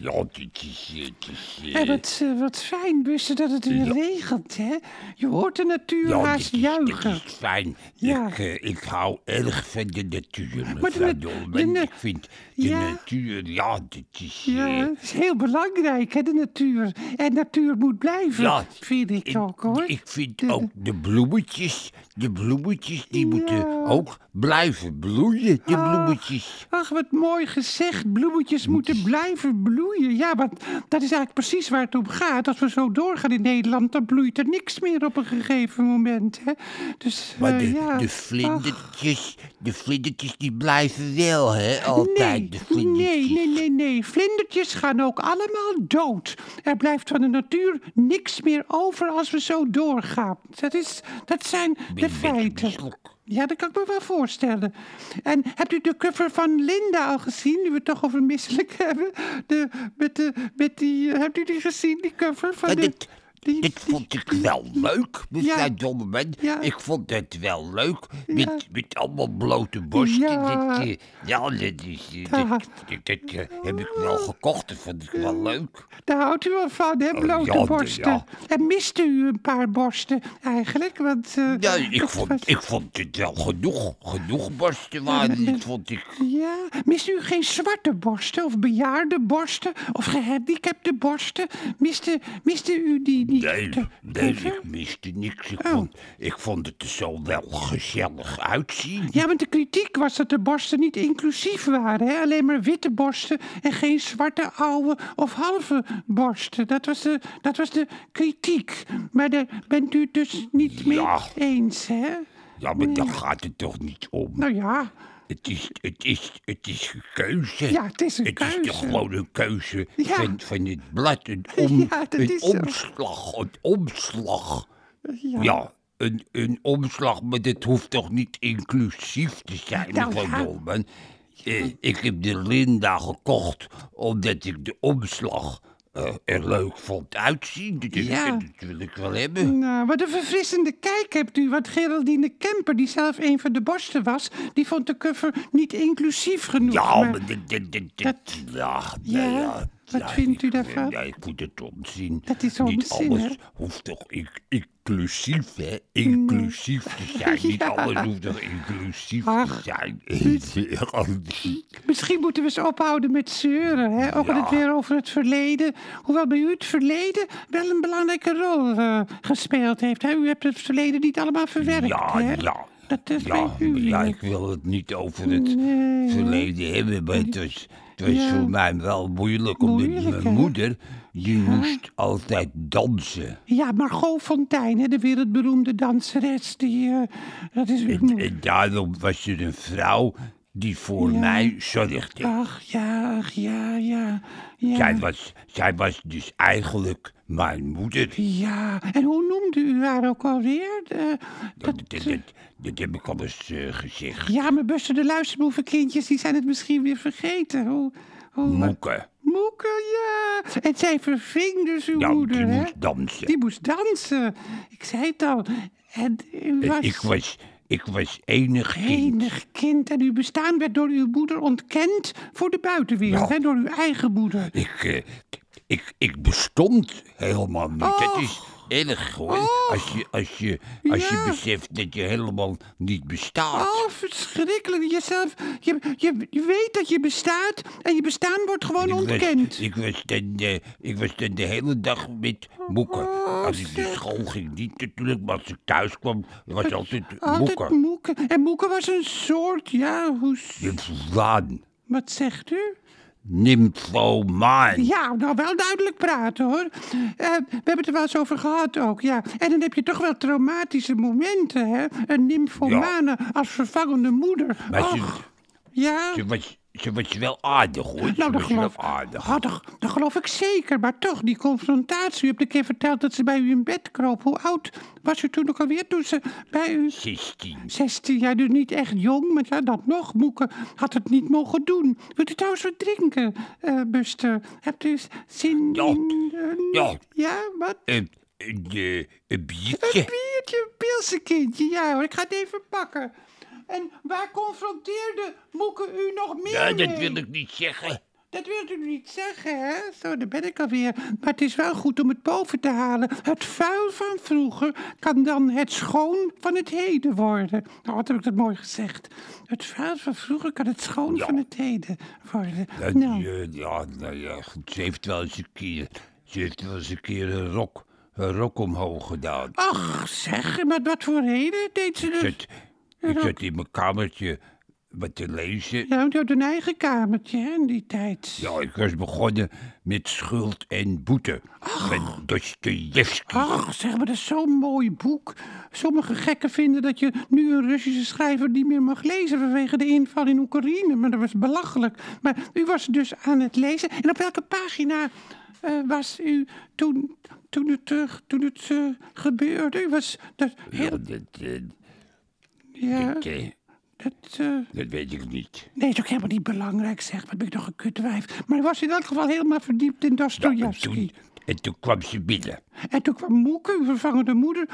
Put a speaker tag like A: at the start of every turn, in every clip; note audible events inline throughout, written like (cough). A: Ja, dit is, dit is,
B: Hé, wat, eh, wat fijn, Buster, dat het weer regent, hè? Je hoort de natuur
A: ja,
B: haast
A: dit is- dit
B: juichen.
A: is fijn.
B: Ja.
A: Ik, eh, ik hou erg van de natuur,
B: Maar de
A: mevrouw
B: nat- de
A: Dolman.
B: na-
A: Ik vind de
B: Ja.
A: natuur, ja, dit is... eh,
B: Ja, het is heel belangrijk, hè, de natuur. En natuur moet blijven,
A: Ja,
B: vind ik, ook, hoor.
A: Ik vind
B: De-
A: ook de bloemetjes, de bloemetjes, die
B: Ja. Ah,
A: moeten ook blijven bloeien, de bloemetjes.
B: Ach, wat mooi gezegd. Bloemetjes moeten blijven bloeien. Ja, want dat is eigenlijk precies waar het om gaat. Als we zo doorgaan in Nederland, dan bloeit er niks meer op een gegeven moment. Hè? Dus,
A: Maar
B: eh,
A: de,
B: ja.
A: de
B: Ach,
A: vlindertjes, de vlindertjes die blijven wel, hè, altijd,
B: Nee,
A: de vlindertjes.
B: nee, nee, nee, nee. Vlindertjes gaan ook allemaal dood. Er blijft van de natuur niks meer over als we zo doorgaan. Dat, is, dat zijn de
A: een beetje
B: feiten.
A: misselijk.
B: Ja, dat kan ik me wel voorstellen. En hebt u de cover van Linda al gezien? Nu we het toch over misselijk (laughs) hebben. De, met, de, met die, eh, hebt u die gezien, die cover van
A: Maar
B: de...
A: Eh, dit,
B: die-
A: dit vond ik wel leuk, mevrouw
B: Ja.
A: Dolman.
B: Ja.
A: Ik vond het wel leuk,
B: Ja.
A: met, met allemaal blote borsten.
B: Ja.
A: Dit, eh, ja, dat, is, eh,
B: Ja.
A: dat, dat, dat, eh, heb ik wel gekocht, dat vond ik wel leuk.
B: Daar houdt u wel van, hè, blote
A: Oh, ja, de-
B: borsten.
A: ja.
B: En miste u een paar borsten eigenlijk? Want, eh,
A: Ja, ik
B: dat was-
A: vond, ik vond het wel genoeg. Genoeg borsten waren het, vond ik.
B: Ja, mist u geen zwarte borsten of bejaarde borsten of gehandicapte borsten? Miste, miste u die niet?
A: Nee,
B: De-
A: nee,
B: de-
A: ik miste niks. Ik,
B: Oh.
A: vond, ik vond het er zo wel gezellig uitzien.
B: Ja, want de kritiek was dat de borsten niet inclusief waren. Hè? Alleen maar witte borsten en geen zwarte, oude of halve borsten. Dat was de, dat was de kritiek. Maar daar bent u het dus niet mee
A: Ja.
B: eens, hè?
A: Ja, maar daar gaat het toch niet om.
B: Nou ja,
A: Het is, het is, het is een keuze.
B: Ja, het is een
A: Het is
B: keuze.
A: toch gewoon een keuze
B: Ja.
A: van, van het blad. Een, om,
B: (laughs) Ja, dat
A: een
B: is zo.
A: omslag, een omslag.
B: ja.
A: Ja, een, een omslag, maar dit hoeft toch niet inclusief te zijn,
B: Nou
A: mevrouw
B: ja.
A: Dolman? Eh, ik heb de Linda gekocht omdat ik de omslag eh, er leuk vond uitzien. Dus
B: Ja.
A: dat wil ik wel hebben.
B: Nou, wat een verfrissende kijk hebt u. Want Geraldine Kemper, die zelf een van de borsten was, die vond de cover niet inclusief genoeg.
A: Ja,
B: maar-
A: maar dit, dit, dit, dit-
B: dat-
A: ja,
B: ja,
A: nou
B: wat
A: ja,
B: vindt u
A: ik-
B: daarvan?
A: Ja, ik moet het onzien.
B: Dat is
A: Niet
B: onzin,
A: alles
B: hè?
A: hoeft toch inc- inclusief, hè? Inclusief te zijn. Niet
B: (laughs) Ja.
A: alles hoeft toch inclusief te
B: Ach,
A: zijn.
B: Misschien moeten we eens ophouden met zeuren. Hè? Ook al het
A: Ja.
B: weer over het verleden. Hoewel bij u het verleden wel een belangrijke rol eh, gespeeld heeft. Hè? U hebt het verleden niet allemaal verwerkt.
A: Ja,
B: hè?
A: ja.
B: Dat is
A: Ja,
B: bij u.
A: ja, ik wil het niet over het
B: Nee.
A: verleden hebben, maar het was, het was
B: Ja.
A: voor mij wel moeilijk, omdat
B: Moeilijk,
A: mijn
B: hè?
A: moeder, die moest altijd dansen.
B: Ja, Margot Fonteyn, hè, de wereldberoemde danseres. Die, eh, dat is...
A: En daarom was er een vrouw die voor mij zorgde.
B: Ach, ja, ach, ja, ja. Oh, ja.
A: Zij, was, zij was dus eigenlijk mijn moeder.
B: Ja, en hoe noemde u haar ook alweer? Eh, dat,
A: Dat, dat, dat- dat heb ik al eens eh, gezegd.
B: ja, maar Buster de luisterboevenkindjes, die zijn het misschien weer vergeten. Hoe, hoe,
A: Moeke.
B: Moeke, ja. En zij verving dus uw
A: Ja,
B: moeder,
A: die
B: hè?
A: moest dansen.
B: Die moest dansen. Ik zei het al. En u was
A: Ik was, ik was enig kind.
B: enig kind en uw bestaan werd door uw moeder ontkend voor de buitenwereld,
A: Ja.
B: hè, door uw eigen moeder.
A: Ik, eh, ik, ik bestond helemaal niet. Dat
B: Oh.
A: is erg hoor. Als, je, als, je, als
B: Ja.
A: je beseft dat je helemaal niet bestaat.
B: Oh, verschrikkelijk. Jezelf, je, je, je weet dat je bestaat en je bestaan wordt gewoon ontkend.
A: Was, ik, was dan, eh, ik was dan de hele dag met moeken.
B: Oh,
A: Als ik naar
B: zeg.
A: school ging, niet natuurlijk, maar als ik thuis kwam, was altijd
B: Altijd
A: moeken.
B: moeken. En moeken was een soort, ja, hoe... s-
A: Nymfomaan.
B: Wat zegt u?
A: Nymfomaan.
B: Ja, nou wel duidelijk praten hoor. Eh, we hebben het er wel eens over gehad ook, ja. En dan heb je toch wel traumatische momenten, hè? Een nymphomane als vervangende moeder.
A: Maar ze-
B: Och, ja.
A: Ze was, ze was wel aardig hoor.
B: Nou,
A: ze
B: dat
A: was
B: geloof,
A: wel aardig.
B: Ah, dat, dat geloof ik zeker. Maar toch, die confrontatie. U hebt een keer verteld dat ze bij u in bed kroop. Hoe oud was u toen ook alweer toen ze bij u...
A: 16.
B: 16 jaar, dus niet echt jong, maar ja, dat nog. Moeke had het niet mogen doen. Wilt u trouwens wat drinken, eh, Buster? Hebt u zin
A: Ja.
B: in... een-
A: Ja.
B: Ja, wat?
A: Een, een, eh, een
B: Een
A: biertje.
B: biertje, een pilsenkindje. Ja hoor, ik ga het even pakken. En waar confronteerde Moeke u nog meer
A: Ja, dat
B: mee?
A: wil ik niet zeggen.
B: Dat wilde u niet zeggen, hè? Zo, daar ben ik alweer. Maar het is wel goed om het boven te halen. Het vuil van vroeger kan dan het schoon van het heden worden. Nou, wat heb ik dat mooi gezegd. Het vuil van vroeger kan het schoon
A: Ja.
B: van het heden worden.
A: Dat,
B: nou,
A: je- ja, nou ja, goed, ze heeft wel eens een keer, ze heeft wel eens een keer een rok, een rok omhoog gedaan.
B: ach, zeg, maar wat voor reden deed ze dat?
A: Zit, ik zat in mijn kamertje wat te lezen.
B: Ja, want je had een eigen kamertje hè, in die tijd.
A: Ja, ik was begonnen met schuld en boete. Met Dostojevski.
B: Ach, Ah, zeg maar, dat is zo'n mooi boek. Sommige gekken vinden dat je nu een Russische schrijver niet meer mag lezen vanwege de inval in Oekraïne. Maar dat was belachelijk. Maar u was dus aan het lezen. En op welke pagina eh, was u toen, toen het, eh, toen het eh, gebeurde? U was dat.
A: Ja, dat, eh,
B: Ja,
A: dat, eh,
B: dat. eh,
A: dat weet ik niet.
B: nee, is ook helemaal niet belangrijk, zeg. Wat ben ik nog een kutwijf. Maar u was in elk geval helemaal verdiept in
A: En
B: Dostojevski.
A: toen, en toen kwam ze binnen.
B: En toen kwam Moeke, uw vervangende moeder.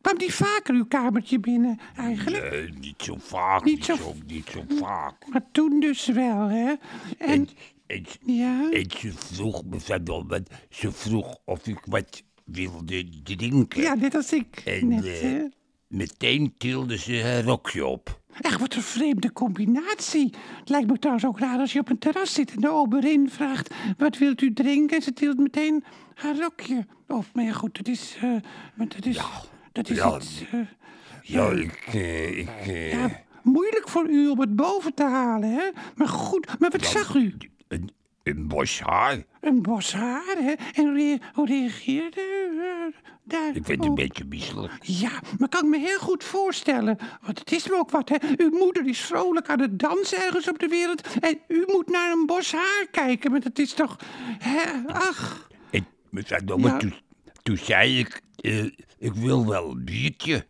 B: Kwam die vaker uw kamertje binnen eigenlijk?
A: Eh, niet zo vaak,
B: Niet
A: niet
B: zo-
A: zo, niet zo vaak.
B: Maar toen dus wel, hè? En,
A: En, en,
B: ja,
A: en ze vroeg me van wel wat- ze vroeg of ik wat wilde drinken.
B: ja, net als ik
A: en
B: net,
A: eh,
B: hè?
A: meteen tilde ze haar rokje op.
B: Echt, wat een vreemde combinatie. Het lijkt me trouwens ook raar als je op een terras zit en de oberin vraagt... wat wilt u drinken? En ze tilt meteen haar rokje op. Maar ja, goed, dat is... eh, maar dat is, dat is
A: ja.
B: iets... eh,
A: Ja, ik... eh, ik eh,
B: ja, moeilijk voor u om het boven te halen, hè? Maar goed, maar wat zag u?
A: Een, een bos haar.
B: Een bos haar, hè? En hoe rea- hoe reageerde u eh, daar?
A: Ik werd
B: op?
A: een beetje misselijk.
B: Ja, maar kan ik me heel goed voorstellen. Want het is me ook wat, hè? Uw moeder is vrolijk aan het dansen ergens op de wereld. En u moet naar een bos haar kijken. Maar dat is toch... Hè? Ach,
A: En mevrouw Domme,
B: Ja.
A: toen, dus. toen zei ik... eh, ik wil wel een biertje.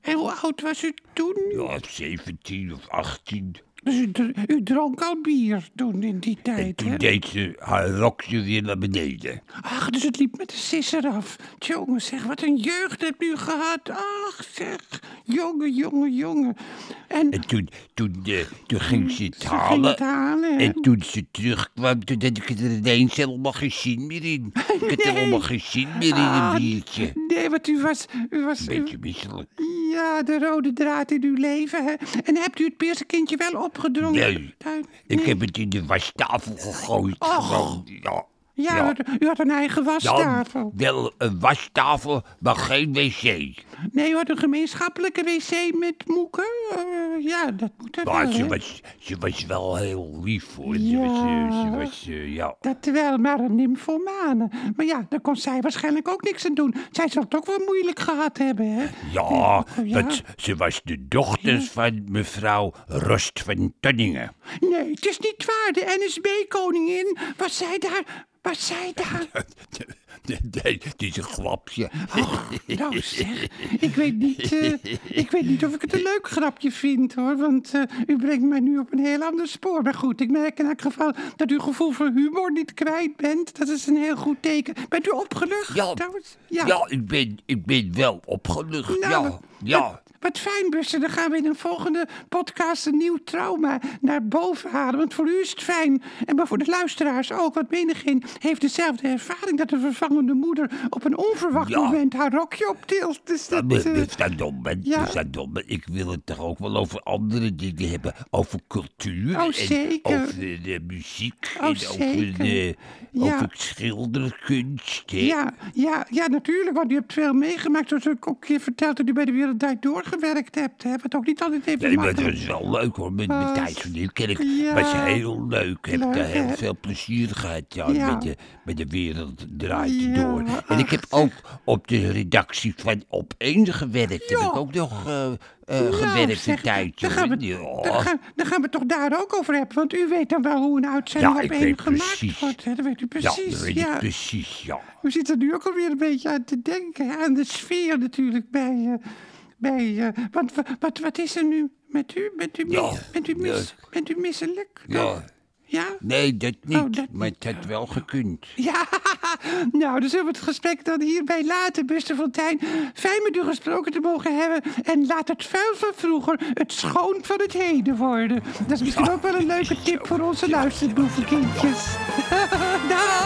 B: en hoe oud was u toen?
A: Ja, 17 of 18.
B: Dus u, dr- u dronk al bier toen in die
A: En
B: tijd,
A: toen
B: hè?
A: deed ze haar rokje weer naar beneden.
B: Ach, dus het liep met de sisser af. Jongen, zeg, wat een jeugd hebt u gehad. Ach, zeg. Jongen, jongen, jongen. En...
A: En toen, toen, eh, toen ging ze het
B: Hm. Ze ging
A: halen.
B: het halen, hè?
A: En toen ze terugkwam, toen had ik er ineens helemaal geen zin meer
B: (laughs)
A: in. Ik had
B: Nee.
A: helemaal geen zin meer in een
B: Ah,
A: biertje.
B: Nee, want u was, u was u-
A: Beetje misselijk.
B: ja, de rode draad in uw leven. Hè? En hebt u het piersenkindje wel opgedrongen?
A: Nee.
B: Daar-
A: Ik heb het in de wastafel gegooid. gewoon. Ja.
B: ja,
A: ja. Nou,
B: u- u had een eigen
A: Dan
B: wastafel.
A: wel een wastafel, maar geen wc.
B: Nee, u had een gemeenschappelijke wc met moeken. Eh, ja, dat moet er
A: Maar
B: wel,
A: ze
B: hè?
A: was, ze was wel heel lief hoor. Ze
B: Ja.
A: was, eh, ze was eh, ja.
B: Dat wel, maar een nymphomane. Maar ja, daar kon zij waarschijnlijk ook niks aan doen. Zij zal het ook wel moeilijk gehad hebben, hè?
A: Ja,
B: ja.
A: want ze was de dochter van mevrouw Rost van (laughs) Tonningen.
B: Nee, het is niet waar. De NSB-koningin, was zij daar... Was zij daar...
A: Nee, het is een grapje.
B: (laughs) Nou zeg, ik weet, niet, eh, ik weet niet of ik het een leuk grapje vind hoor. Want eh, u brengt mij nu op een heel ander spoor. Maar goed, ik merk in elk geval dat u gevoel voor humor niet kwijt bent. Dat is een heel goed teken. Bent u opgelucht
A: Ja,
B: trouwens?
A: ja. ik, ben, ik ben wel opgelucht.
B: Nou,
A: ja,
B: wat-
A: ja.
B: Wat, wat fijn, Bussen. Dan gaan we in een volgende podcast een nieuw trauma naar boven halen. Want voor u is het fijn. En maar voor de luisteraars ook. Want menigeen heeft dezelfde ervaring dat de vervangende moeder op een onverwacht
A: Ja.
B: moment haar rokje optilt. Dus dat,
A: Dat
B: eh,
A: staat dom, hè.
B: ja.
A: Dat staat dom, hè. Ik wil het toch ook wel over andere dingen hebben. Over cultuur.
B: Oh,
A: en
B: zeker.
A: Over de muziek.
B: Oh,
A: en over, de,
B: zeker. Ja.
A: over schilderkunst. hè.
B: Ja, ja, ja, natuurlijk, want u hebt veel meegemaakt. Zoals ik ook een keer verteld dat u bij de Wereld Draait doorgewerkt hebt. Hè? Wat ook niet altijd even
A: Nee, maar dat
B: makkelijk
A: is wel leuk hoor, met,
B: Ah,
A: met Thijs van Nieuwkerk.
B: ja.
A: was heel leuk. Ik heb
B: Leuk,
A: daar heel
B: hè?
A: veel plezier gehad ja,
B: Ja.
A: met, de, met de wereld draait
B: Ja,
A: door. En ik heb ook op de redactie van Op één gewerkt. Heb
B: Ja.
A: ik ook nog eh eh,
B: Nou,
A: gewerkt
B: zeg,
A: een tijdje.
B: Dan gaan, we,
A: hoor.
B: dan, gaan, dan gaan we het toch daar ook over hebben. Want u weet dan wel hoe een uitzending
A: Ja,
B: op
A: ik
B: één
A: weet
B: gemaakt
A: precies.
B: wordt. Hè? Dat weet u
A: Ja,
B: precies.
A: dat weet ik precies, ja.
B: U zit er nu ook alweer een beetje aan te denken. hè, Aan de sfeer natuurlijk bij... eh, bij eh, want wa- wat, wat is er nu met u? Bent u, mis,
A: Ja,
B: bent u, mis,
A: leuk.
B: bent u misselijk?
A: Ja.
B: Ja?
A: Nee, Nou, dat niet.
B: Oh, dat
A: maar het had wel gekund.
B: Ja, nou, dan zullen we het gesprek dan hierbij laten, Buster Fontein. Fijn met u gesproken te mogen hebben. En laat het vuil van vroeger het schoon van het heden worden. Dat is misschien ook wel een leuke tip voor onze luisterboevenkindjes. (laughs) Dag!